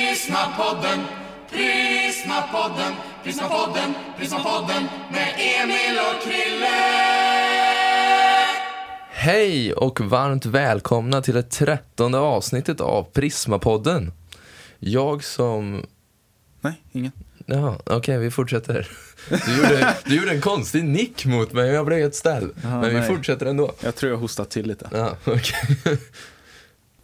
Prismapodden, Prismapodden, Prismapodden, Prismapodden med Emil och Krille. Hej och varmt välkomna till det trettonde avsnittet av Prismapodden. Jag som... Nej, ingen. Ja, okej, vi fortsätter. Du gjorde, du gjorde en konstig nick mot mig och jag blev helt ställd. Jaha, Men vi nej. fortsätter ändå. Jag tror jag hostat till lite. Ja, okej.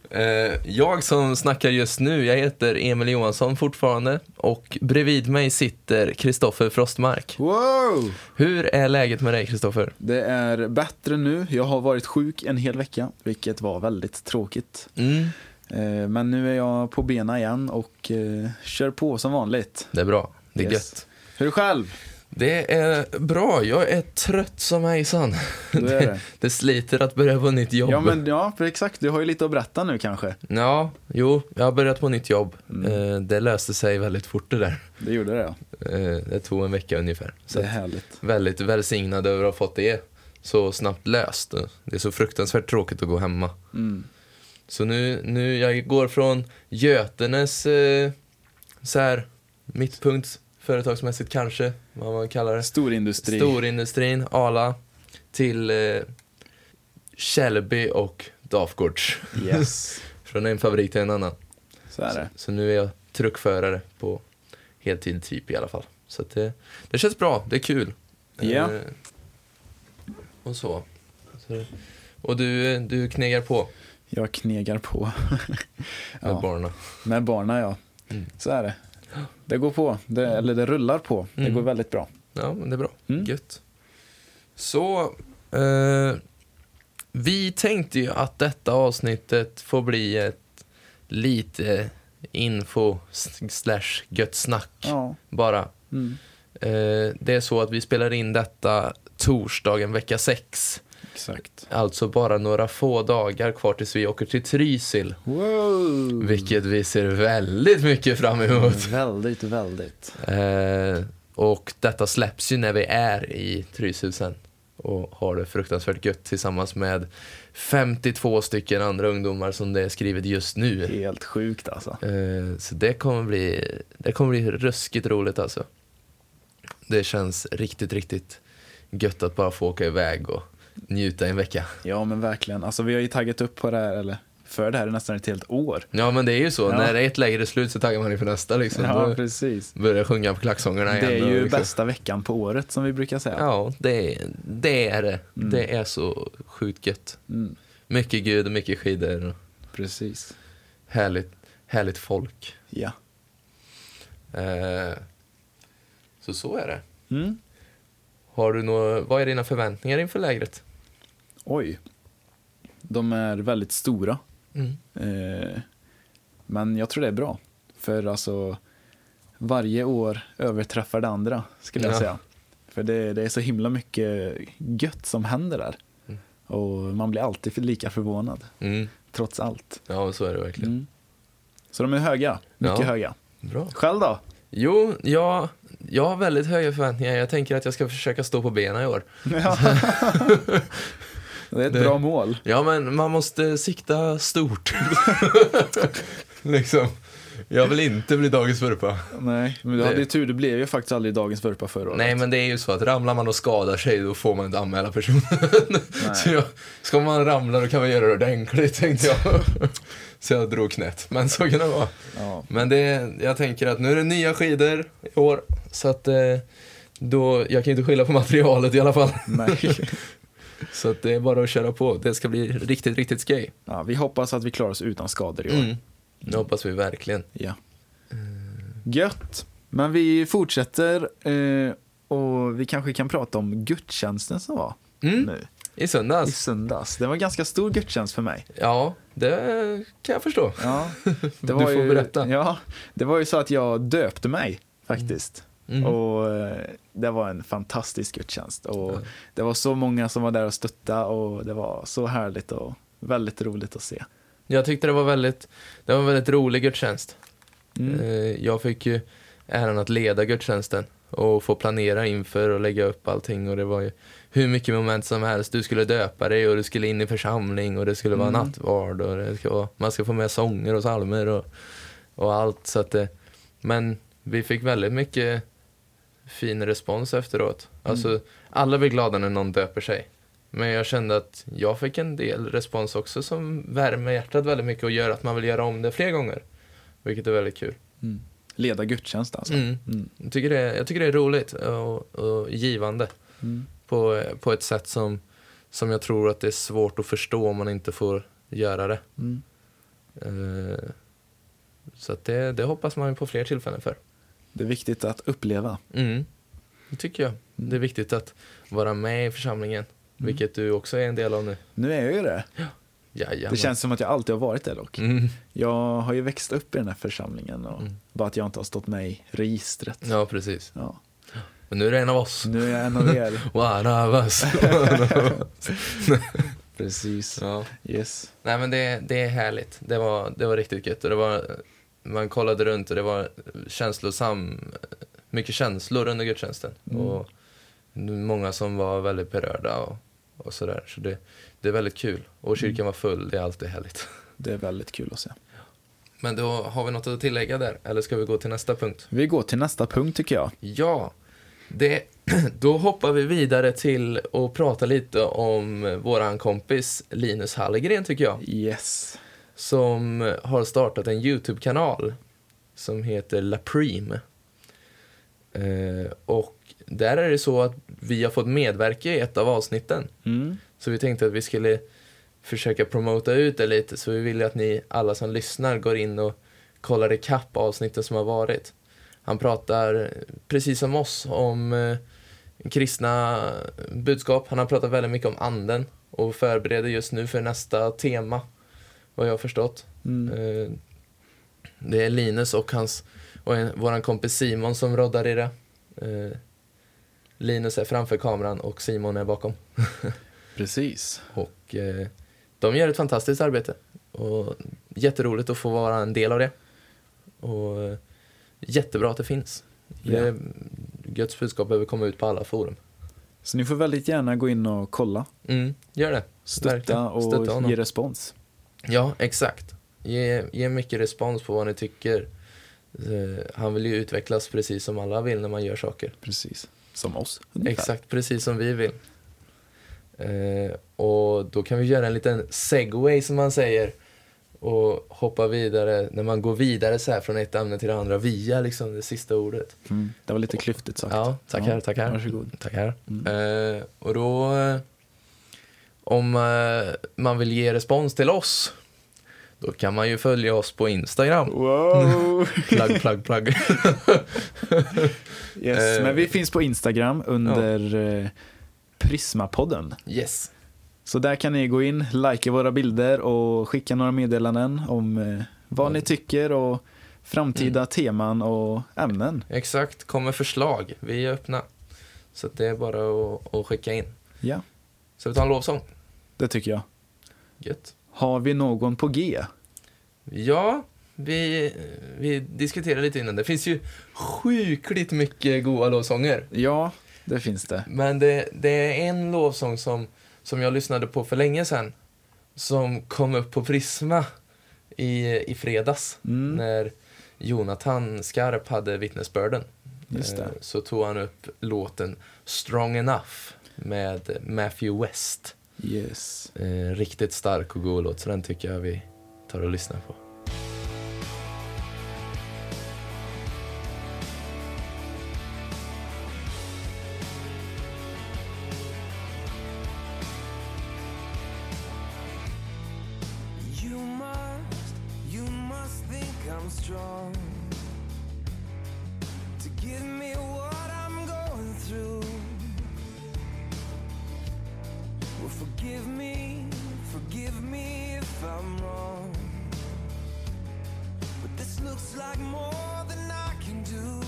Eh, Jag som snackar just nu, jag heter Emil Johansson fortfarande och bredvid mig sitter Kristoffer Frostmark. Wow! Hur är läget med dig Kristoffer? Det är bättre nu. Jag har varit sjuk en hel vecka, vilket var väldigt tråkigt. Mm, Eh, Men nu är jag på bena igen och eh, kör på som vanligt. det är bra. Det är Yes. gött. Hur är det själv? Det är bra, jag är trött som hejsan. Det är det. det sliter att börja på nytt jobb. Ja, men ja, för exakt. Du har ju lite att berätta nu kanske. Ja, jo, jag har börjat på nytt jobb. Mm. Eh, Det löste sig väldigt fort det där. Det gjorde det, ja. Eh, Det tog en vecka ungefär. Så Det är att härligt. väldigt välsignad över att ha fått det så snabbt löst. Det är så fruktansvärt tråkigt att gå hemma. Mm. Så nu, nu jag går från Götenes, eh, så här, mittpunkt företagsmässigt kanske, vad man kallar det. Storindustri. Storindustrin, Arla, till eh, Källby och Dafgårds. Yes. Från en fabrik till en annan. Så är det. Så nu är jag truckförare på heltid typ i alla fall. Så att det, det känns bra, det är kul. Ja. Eh, och så. så. Och du, eh, du knegar på Jag knegar på. med Ja. barnen. Med barna, ja. Mm. Så är det. Det går på, det, eller det rullar på. Det Mm. går väldigt bra. Ja, men det är bra. Mm. Gött. Så, eh, vi tänkte ju att detta avsnittet får bli ett lite info s- slash gött snack Ja. bara. Mm. Eh, det är så att vi spelar in detta torsdagen vecka 6. Exakt. Alltså bara några få dagar kvar tills vi åker till Trysil. Wow! Vilket vi ser väldigt mycket fram emot. Väldigt, väldigt. Eh, och detta släpps ju när vi är i Trysil sen och har det fruktansvärt gött tillsammans med 52 stycken andra ungdomar som det är skrivet just nu. Helt sjukt alltså. Eh, så det kommer bli, det kommer bli ruskigt roligt alltså. Det känns riktigt, riktigt gött att bara få åka iväg och njuta i en vecka. Ja men verkligen. Alltså vi har ju taggat upp på det här, eller för det här är nästan ett helt år. Ja men det är ju så, Ja. när ett läger är slut så taggar man inför nästa liksom. Ja, Då precis. börjar jag sjunga på klacksångerna igen. Det är och ju liksom. bästa veckan på året som vi brukar säga. Ja, Mm. det, är- det är det. Det är så sjukt gött. Mm, Mycket Gud och mycket skidor. och precis. Härligt, härligt folk. Ja. Eh, så så är det. Mm. Har du nå, vad är dina förväntningar inför lägret? Oj. De är väldigt stora. Mm. Eh, men jag tror det är bra. För alltså, varje år överträffar det andra, skulle jag Ja. säga. För det, det är så himla mycket gött som händer där. Mm. Och man blir alltid för- lika förvånad, Mm. trots allt. Ja, så är det verkligen. Mm. Så de är höga, mycket Ja. höga. Bra. Själv då? Jo, jag, jag har väldigt höga förväntningar. Jag tänker att jag ska försöka stå på benen i år. Det är ett Det- bra mål. Ja, men man måste sikta stort. liksom. Jag vill inte bli dagens vurpa. Nej, men du Det- hade ju tur, du blev ju faktiskt aldrig dagens vurpa förra året. Nej men det är ju så att ramlar man och skadar sig då får man inte anmäla personen. så jag, ska man ramla då kan man göra det ordentligt tänkte jag. så jag drog knät. Men så kan det vara. Ja. Men det, jag tänker att nu är det nya skidor i år. Så att eh, då, jag kan ju inte skylla på materialet i alla fall. Nej. Så att det är bara att köra på. Det ska bli riktigt, riktigt skoj. Ja, vi hoppas att vi klarar oss utan skador i år. Mm. Eh. Det hoppas vi verkligen. Ja. Gött. Men vi fortsätter eh, och vi kanske kan prata om gudstjänsten som var Mm. nu I i söndags. söndags. Det var en ganska stor gudstjänst för mig. Ja, det kan jag förstå. Ja, Du får ju, berätta. Ja, det var ju så att jag döpte mig faktiskt. Mm. Och eh, det var en fantastisk gudstjänst. Och Det var så många som var där och stöttade och det var så härligt och väldigt roligt att se. Jag tyckte det var väldigt, det var en väldigt rolig gudstjänst. Mm. Eh, Jag fick ju äran att leda gudstjänsten och få planera inför och lägga upp allting och det var ju hur mycket moment som helst. Du skulle döpa dig och du skulle in i församling och det skulle vara nattvard och det ska vara, man ska få med sånger och psalmer och, och allt så att det, Men vi fick väldigt mycket fin respons efteråt. Mm. Alltså, alla blir glada när någon döper sig. Men jag kände att jag fick en del respons också som värmer hjärtat väldigt mycket och gör att man vill göra om det fler gånger. Vilket är väldigt kul. Mm. Leda gudstjänst alltså. Mm. Mm. Jag, tycker det, är- jag tycker det är roligt och, och givande Mm. på, på ett sätt som, som jag tror att det är svårt att förstå om man inte får göra det. Mm. Eh, Så att det, det hoppas man ju på fler tillfällen för. Det är viktigt att uppleva. Mm. Det tycker jag. Det är viktigt att vara med i församlingen, vilket du också är en del av nu. Nu är jag ju det. Jajamän. Det känns som att jag alltid har varit det dock. Mm. Jag har ju växt upp i den här församlingen och bara att jag inte har stått med i registret. Ja, precis. Ja. Men nu är det en av oss. Nu är jag en av er. One of us. Precis. ja. Yes. Nej, men det, det är härligt. Det var, det var riktigt gött. Och det var, man kollade runt och det var känslosam, mycket känslor under gudstjänsten. Och många som var väldigt berörda och, och sådär. Så det, det är väldigt kul. Och kyrkan var full, det är alltid härligt. Det är väldigt kul att se. Men då har vi något att tillägga där, eller ska vi gå till nästa punkt? Vi går till nästa punkt tycker jag. Ja, det, då hoppar vi vidare till att prata lite om våran kompis Linus Hallgren tycker jag. Yes. Som har startat en YouTube-kanal som heter La Prime. Eh, och där är det så att vi har fått medverka i ett av avsnitten. Mm. Så vi tänkte att vi skulle försöka promota ut det lite. Så vi vill att ni alla som lyssnar går in och kollar ikapp avsnitten som har varit. Han pratar, precis som oss, om eh, kristna budskap. Han har pratat väldigt mycket om anden och förbereder just nu för nästa tema, vad jag har förstått. Mm. Eh, Det är Linus och hans och en, våran kompis Simon som roddar i det. Eh, Linus är framför kameran och Simon är bakom. Precis. Och eh, de gör ett fantastiskt arbete. Och jätteroligt att få vara en del av det. Och eh, jättebra att det finns. Ja. Det, Guds budskap behöver komma ut på alla forum. Så ni får väldigt gärna gå in och kolla, Mm, gör det. Verkligen. stötta och Stötta honom. ge respons. Ja, exakt. Ge, ge mycket respons på vad ni tycker. Eh, han vill ju utvecklas precis som alla vill när man gör saker. Precis. Som oss. ungefär. Exakt, precis som vi vill. Eh, och då kan vi göra en liten segway som man säger och hoppa vidare, när man går vidare så här från ett ämne till det andra via liksom det sista ordet. Mm. Det var lite klyftigt sagt. Ja, tackar, tackar. Varsågod. Mm. Tackar. Eh, och då, eh, om eh, man vill ge respons till oss, då kan man ju följa oss på Instagram. Wow! Plugg, plugg, plugg. Yes, Eh. men vi finns på Instagram under eh, Prismapodden. Yes. Så där kan ni gå in, likea våra bilder och skicka några meddelanden om eh, vad ni tycker och framtida teman och ämnen. Exakt, kom med förslag. Vi är öppna. Så att det är bara att, att skicka in. Ja, Så vi tar en lovsång. det tycker jag. Gött. Har vi någon på G? Ja, vi, vi diskuterade lite innan. Det finns ju sjukligt mycket goda lovsånger. Ja, det finns det. Men det, det är en lovsång som, som jag lyssnade på för länge sedan. Som kom upp på Prisma i, i fredags. Mm. När Jonathan Skarp hade vittnesbörden. Just det. Eh, Så tog han upp låten Strong Enough med Matthew West. Yes. Eh, riktigt stark och god låt, så den tycker jag vi tar och lyssnar på. You must, you must think I'm strong to give me what I'm going through. Well, forgive me, forgive me if I'm wrong. But this looks like more than I can do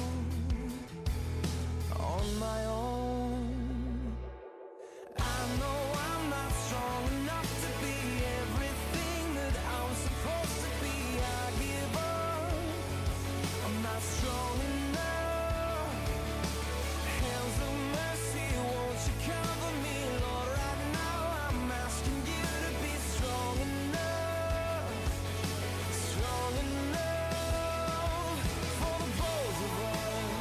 on my own. I know I'm not strong enough to be everything that I'm supposed to be. I give up. I'm not strong enough. Hands of mercy, won't you cover me, Lord? Right now I'm asking you to be strong enough, strong enough for the boy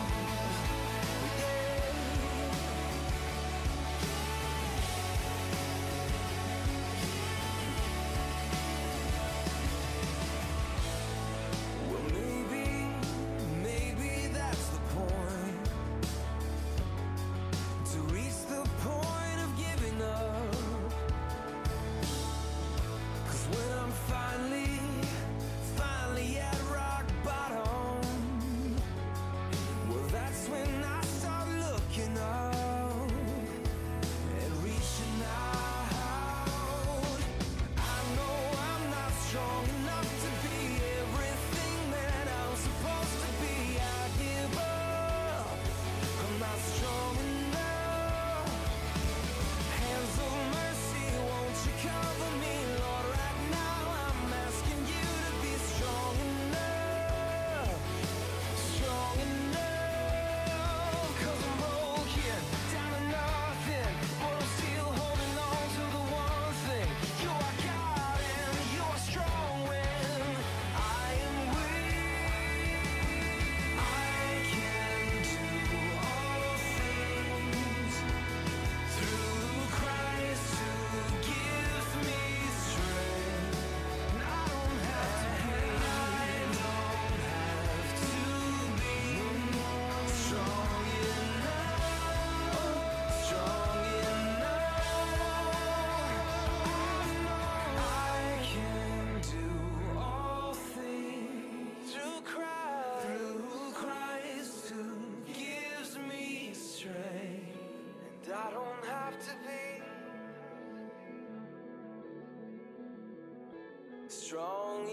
Strong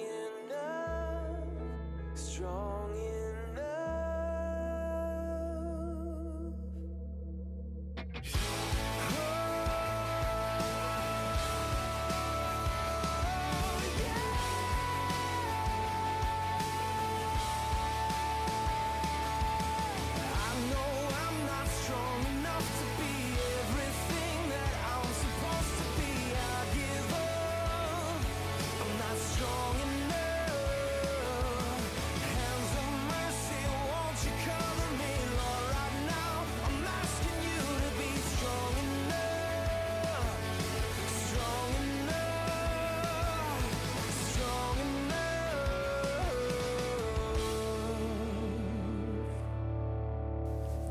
enough, strong enough. I know I'm not strong enough to be everything that I'm supposed to be. I give up. I'm not strong enough. Hands of mercy, won't you cover me, Lord? Right now, I'm asking you to be strong enough, strong enough, strong enough.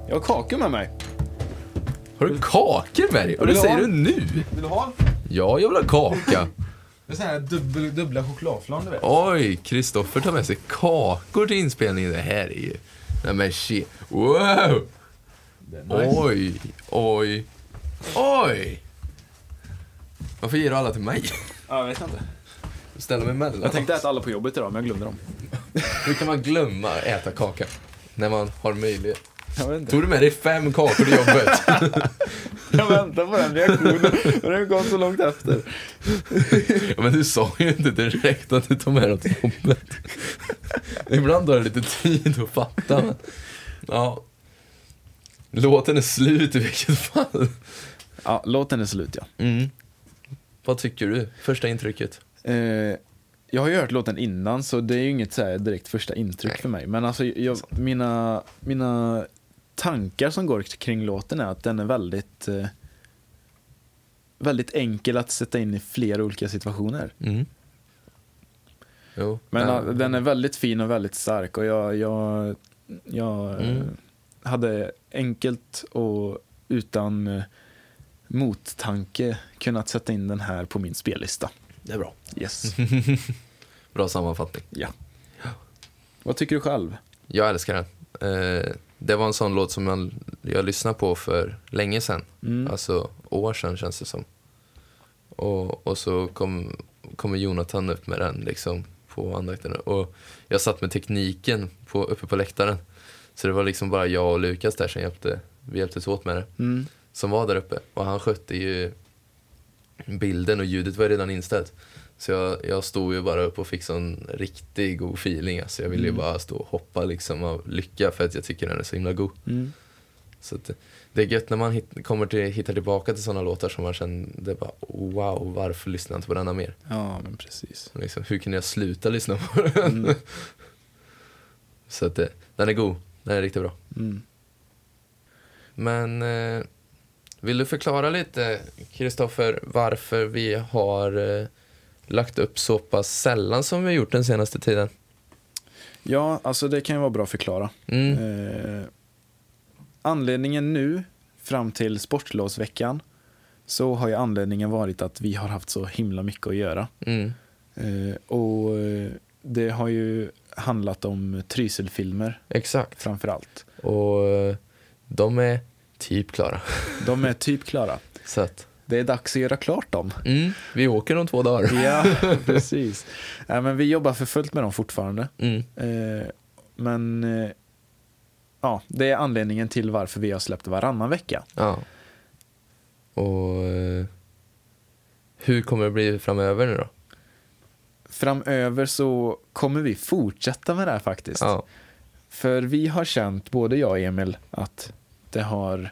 Jag har kakor med mig. Har du kakor med dig? Och det Vill du säger ha? du nu? Vill du ha? Ja, jag vill ha kaka. Det är sån här dubbel, dubbla chokladflan du vet. Oj, Kristoffer tar med sig kakor till inspelningen. Det här är ju... Nej men shit. Wow! Oj, oj, oj! Varför ger du alla till mig? Ja, jag vet inte. Ställer mig emellan. Jag tänkte äta alla på jobbet idag men jag glömde dem. Hur kan man glömma att äta kaka? När man har möjlighet. Jag vet inte. Tog du med dig fem kakor till jobbet? Jag väntar på den reaktionen men den kom så långt efter. ja, men du sa ju inte direkt att du tog med dem till jobbet. Ibland tar det lite tid att fatta. Men... Ja. Låten är slut i vilket fall. Ja, låten är slut ja. Mm. Vad tycker du? Första intrycket? Eh, jag har ju hört låten innan så det är ju inget så här direkt första intryck Nej. för mig. Men alltså jag, mina, mina tankar som går kring låten är att den är väldigt eh, väldigt enkel att sätta in i flera olika situationer. Mm. Jo. Men nej. eh, den är väldigt fin och väldigt stark och jag, jag, jag eh, Mm. hade enkelt och utan eh, mottanke kunnat sätta in den här på min spellista. Det är bra. Yes. Bra sammanfattning. Ja. Vad tycker du själv? Jag älskar den. Eh, det var en sån låt som jag, jag lyssnade på för länge sedan. Alltså år sedan känns det som. Och, och så kom, kommer Jonathan upp med den liksom på andakten. Och jag satt med tekniken på, uppe på läktaren. Så det var liksom bara jag och Lukas där som hjälpte, vi hjälptes åt med det. Mm. som var där uppe. Och han skötte ju bilden och ljudet var ju redan inställt. Så jag, jag stod ju bara upp och fick sån riktig god feeling. Alltså jag ville ju bara stå och hoppa liksom av lycka för att jag tycker den är så himla god. Mm. Så att, det- det är gött när man hit, kommer till, hittar tillbaka till såna låtar som man kände bara wow, varför lyssnar jag inte på denna mer? Ja, men precis. Liksom, hur kunde jag sluta lyssna på den? Så att det, den är god, den är riktigt bra. Mm. Men eh, vill du förklara lite, Kristoffer, varför vi har eh, lagt upp så pass sällan som vi har gjort den senaste tiden? Ja, alltså det kan ju vara bra att förklara. Mm. Eh, anledningen nu, fram till sportlovsveckan, så har ju anledningen varit att vi har haft så himla mycket att göra. Mm. Eh, och eh, det har ju handlat om Trysilfilmer Exakt. framför allt. Och eh, de är typ klara. De är typ klara. Så att, Det är dags att göra klart dem. mm, vi åker om två dagar. Ja, precis. Nej, men vi jobbar för fullt med dem fortfarande. Mm. Eh, men eh, ja, det är anledningen till varför vi har släppt varannan vecka. Ja. Och eh, hur kommer det bli framöver nu då? Framöver så kommer vi fortsätta med det här faktiskt. Ja. För vi har känt, både jag och Emil, att det har,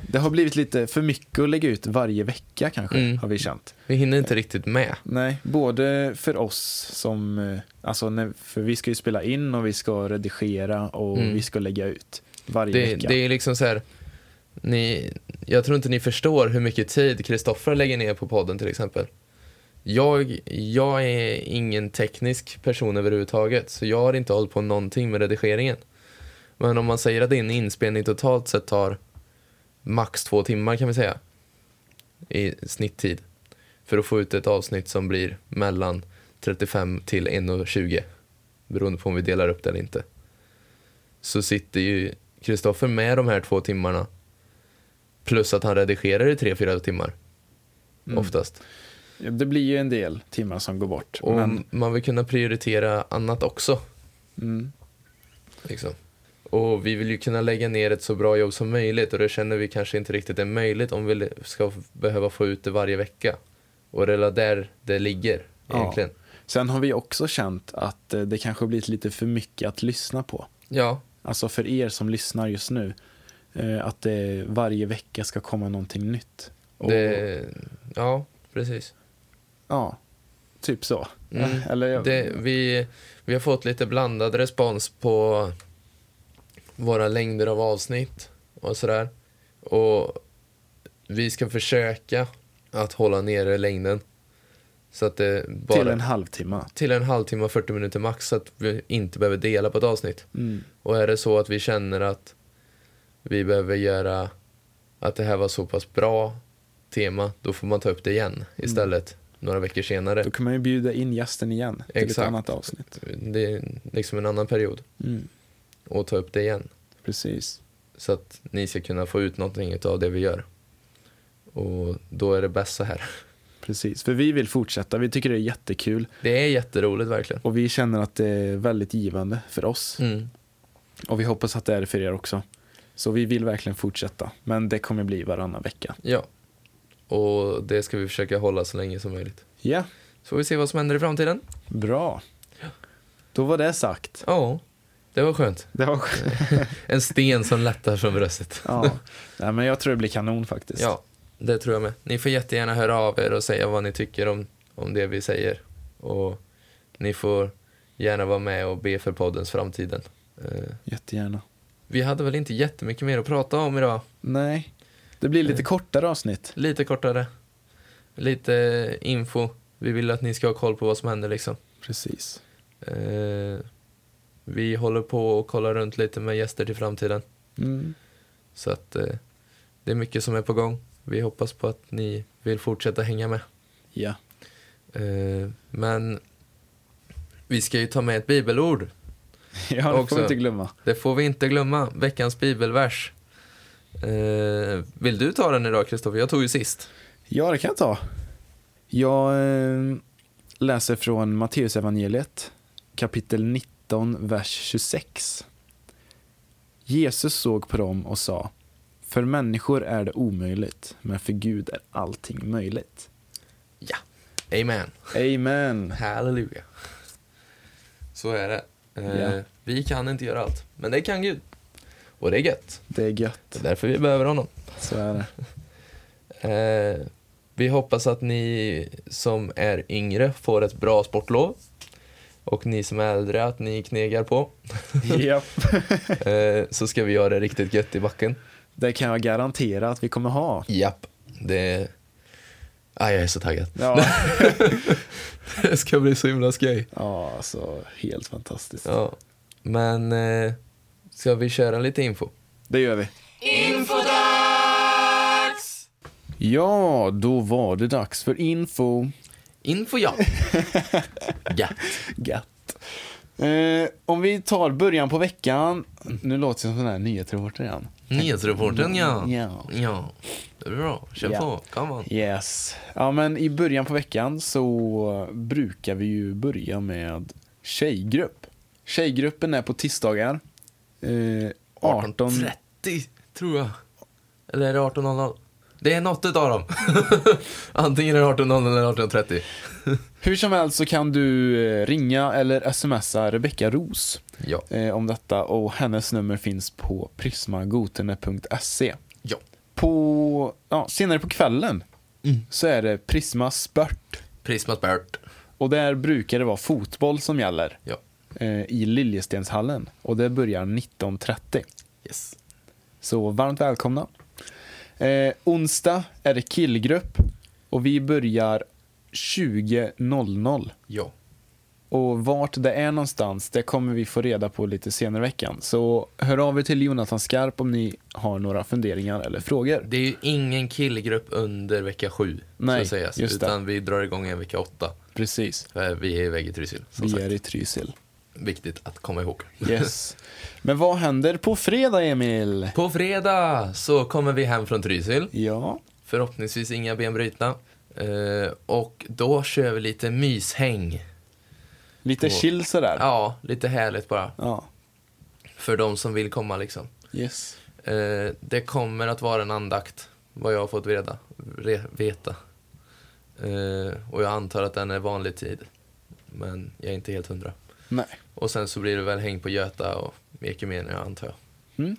det har blivit lite för mycket att lägga ut varje vecka kanske, Mm. har vi känt. Vi hinner inte riktigt med. Nej, både för oss som, eh, alltså när, för vi ska ju spela in och vi ska redigera och Mm. vi ska lägga ut varje Det, vecka. det är liksom så här, ni, jag tror inte ni förstår hur mycket tid Kristoffer lägger ner på podden till exempel. Jag, jag är ingen teknisk person överhuvudtaget, så jag har inte hållit på någonting med redigeringen. Men om man säger att din inspelning totalt sett tar max två timmar kan vi säga, i snitttid. För att få ut ett avsnitt som blir mellan 35 till 1.20, beroende på om vi delar upp det eller inte så sitter ju Kristoffer med de här två timmarna. Mm. Plus att han redigerar i tre, fyra timmar. Oftast. Ja, Det blir ju en del timmar som går bort. Och men, man vill kunna prioritera annat också. mm, Liksom. Och vi vill ju kunna lägga ner ett så bra jobb som möjligt och det känner vi kanske inte riktigt är möjligt om vi ska f- behöva få ut det varje vecka. Och det är där det ligger Ja. egentligen. sen har vi också känt att eh, det kanske har blivit lite för mycket att lyssna på. Ja, Alltså för er som lyssnar just nu. eh, Att det varje vecka ska komma någonting nytt. Och- det, ja precis. Ja, typ så. Mm. Eller jag, Det, vi, vi har fått lite blandad respons på våra längder av avsnitt och sådär. Och vi ska försöka att hålla nere längden. Så att det bara... till en halvtimme. till en halvtimme och 40 minuter max så att vi inte behöver dela på ett avsnitt. Mm. Och är det så att vi känner att vi behöver göra att det här var så pass bra tema, då får man ta upp det Mm. igen istället några veckor senare. Då kan man ju bjuda in gästen igen till ett Exakt. annat avsnitt. Det är liksom en annan period Mm. och ta upp det igen. Precis. Så att ni ska kunna få ut någonting av det vi gör. Och då är det bäst så här. Precis, för vi vill fortsätta. Vi tycker det är jättekul Det är jätteroligt verkligen. och vi känner att det är väldigt givande för oss. Mm. Och vi hoppas att det är det för er också. Så vi vill verkligen fortsätta, men det kommer bli varannan vecka. Ja. Och det ska vi försöka hålla så länge som möjligt. Ja, Så får vi se vad som händer i framtiden. bra. Då var det sagt. Ja, det var skönt. Det var En sten som lättar från bröstet. ja. Nej, men jag tror det blir kanon faktiskt. Ja, det tror jag med. Ni får jättegärna höra av er och säga vad ni tycker om, om det vi säger. Och ni får gärna vara med och be för poddens framtiden. Eh, Jättegärna. Vi hade väl inte jättemycket mer att prata om idag. Nej, det blir lite kortare avsnitt. Lite kortare. Lite info. Vi vill att ni ska ha koll på vad som händer liksom. Precis. Eh, Vi håller på och kollar runt lite med gäster till framtiden. Mm. Så att eh, det är mycket som är på gång. Vi hoppas på att ni vill fortsätta hänga med. Ja, Eh, men vi ska ju ta med ett bibelord. ja det får Också. vi inte glömma. Det får vi inte glömma. Veckans bibelvers. Eh, vill du ta den idag Kristoffer? Jag tog ju sist. Ja, det kan jag ta. Jag eh, läser från Matteusevangeliet, kapitel 19, vers 26. Jesus såg på dem och sa, för människor är det omöjligt, men för Gud är allting möjligt. Ja. Amen. Amen. Halleluja. Så är det. Eh, Ja. Vi kan inte göra allt, men det kan Gud. Och det är gött. Det är Det gött, är därför vi behöver honom. så är det. Eh, vi hoppas att ni som är yngre får ett bra sportlov. Och ni som är äldre att ni knegar på. Japp. Eh, så ska vi göra det riktigt gött i backen. Det kan jag garantera att vi kommer ha. Japp. Det... Ah, jag är så taggad. Ja, det ska bli så himla skoj. ja alltså helt fantastiskt. Ja. Men eh, ska vi köra lite info? Det gör vi. Infodags! Ja, då var det dags för info. Info ja. ja. Gatt. Eh, om vi tar början på veckan. Nu låter jag som den här nyhetsreportern igen. Nyhetsreportern ja. Ja. Ja. Det är bra. Kör Ja. på. Come on. Yes. Ja, men i början på veckan så brukar vi ju börja med tjejgrupp. Tjejgruppen är på tisdagar. Eh, 18... 18.30 tror jag. Eller är det 18.00? Det är något utav dem. Antingen är det 18.00 eller 18.30. Hur som helst så kan du eh, ringa eller smsa Rebecka Ros Ja. eh, om detta och hennes nummer finns på prismagotene.se. Ja. På, ja, senare på kvällen Mm. så är det Prisma Sport. Prismat Bert. Och där brukar det vara fotboll som gäller Ja. eh, i Liljestenshallen. Och det börjar 19.30. Yes. Så varmt välkomna. Eh, onsdag är det killgrupp och vi börjar 20.00. Ja. Och vart det är någonstans, det kommer vi få reda på lite senare i veckan. Så hör av er till Jonathan Skarp om ni har några funderingar eller frågor. Det är ju ingen killgrupp under vecka sju. Nej, ska sägas, just det. Utan vi drar igång en vecka åtta. Precis. Eh, Vi är iväg i Trysil. Som Vi sagt. är i Trysil. Viktigt att komma ihåg. Yes. Men vad händer på fredag, Emil? På fredag så kommer vi hem från Trysil. Ja, Förhoppningsvis inga ben brutna. Eh, och då kör vi lite myshäng. Lite På- chill sådär. Ja, lite härligt bara. ja. För de som vill komma liksom. Yes. Eh, det kommer att vara en andakt, vad jag har fått reda, re, veta. Eh, och jag antar att den är vanlig tid. Men jag är inte helt hundra. Nej. Och sen så blir det väl häng på Göta och Ekumenia antar jag. Mm.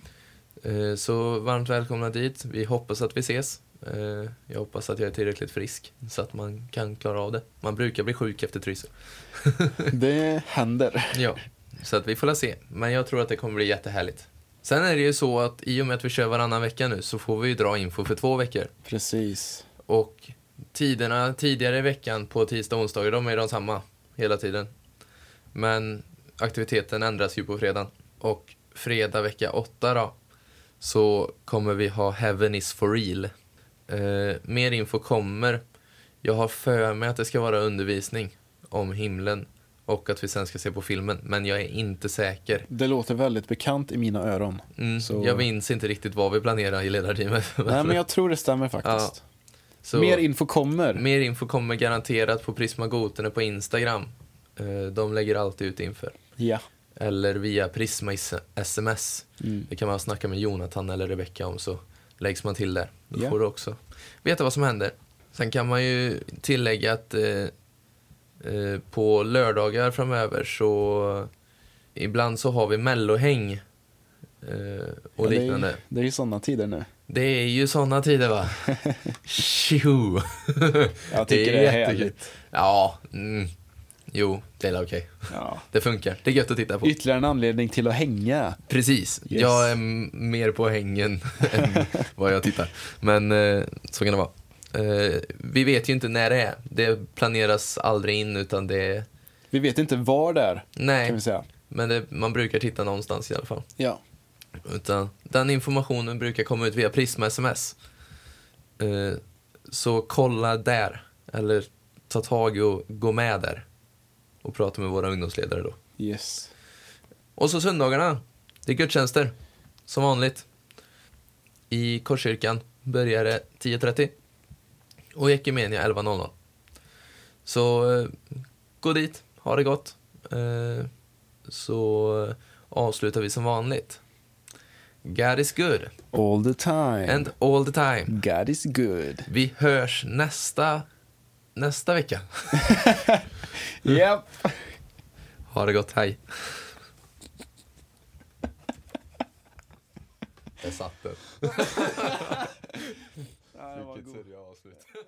Eh, Så varmt välkomna dit. Vi hoppas att vi ses. Eh, Jag hoppas att jag är tillräckligt frisk så att man kan klara av det. Man brukar bli sjuk efter trissor. Det händer. Ja, så att vi får la se. Men jag tror att det kommer bli jättehärligt. Sen är det ju så att i och med att vi kör varannan vecka nu så får vi ju dra info för två veckor. Precis. Och tiderna tidigare i veckan på tisdag och onsdagar, de är de samma hela tiden. Men aktiviteten ändras ju på fredagen. Och fredag vecka 8 då, så kommer vi ha Heaven is for real. Eh, mer info kommer. Jag har för mig att det ska vara undervisning om himlen och att vi sen ska se på filmen, men jag är inte säker. Det låter väldigt bekant i mina öron. Mm, Så- Jag minns inte riktigt vad vi planerar i ledarteamet. Nej, men jag tror det stämmer faktiskt. Så- Mer info kommer. Mer info kommer garanterat på Prisma Gotene på Instagram. Eh, De lägger alltid ut inför. Ja. Eller via Prisma is- sms. Mm. Det kan man snacka med Jonathan eller Rebecka om så läggs man till där. Då Ja. får du också veta vad som händer. Sen kan man ju tillägga att eh, eh, på lördagar framöver så eh, ibland så har vi mellohäng eh, och Ja, det är- liknande. Det är ju sådana tider nu. Det är ju sådana tider va? Tjo! Jag tycker det är härligt. Ja, mm. jo, det är okej. Ja. Det funkar. Det är gött att titta på. Ytterligare en anledning till att hänga. Precis. Yes. Jag är m- mer på hängen än vad jag tittar. Men eh, så kan det vara. Eh, vi vet ju inte när det är. Det planeras aldrig in utan det är... Vi vet inte var det är, kan Nej, vi säga. men det, man brukar titta någonstans i alla fall. Ja. Utan den informationen brukar komma ut via Prisma sms. Eh, så kolla där, eller ta tag i och gå med där. Och prata med våra ungdomsledare då. Yes. Och så söndagarna, det är gudstjänster. Som vanligt. I Korskyrkan börjar det 10.30. Och i Ekumenia 11.00. Så eh, gå dit, ha det gott. Eh, så eh, avslutar vi som vanligt. God is good All the time. and all the time. God is good. Vi hörs nästa, nästa vecka. Mm. Yep. Ha det gott, hej. Jag satt den. Ja, det var god. avslut.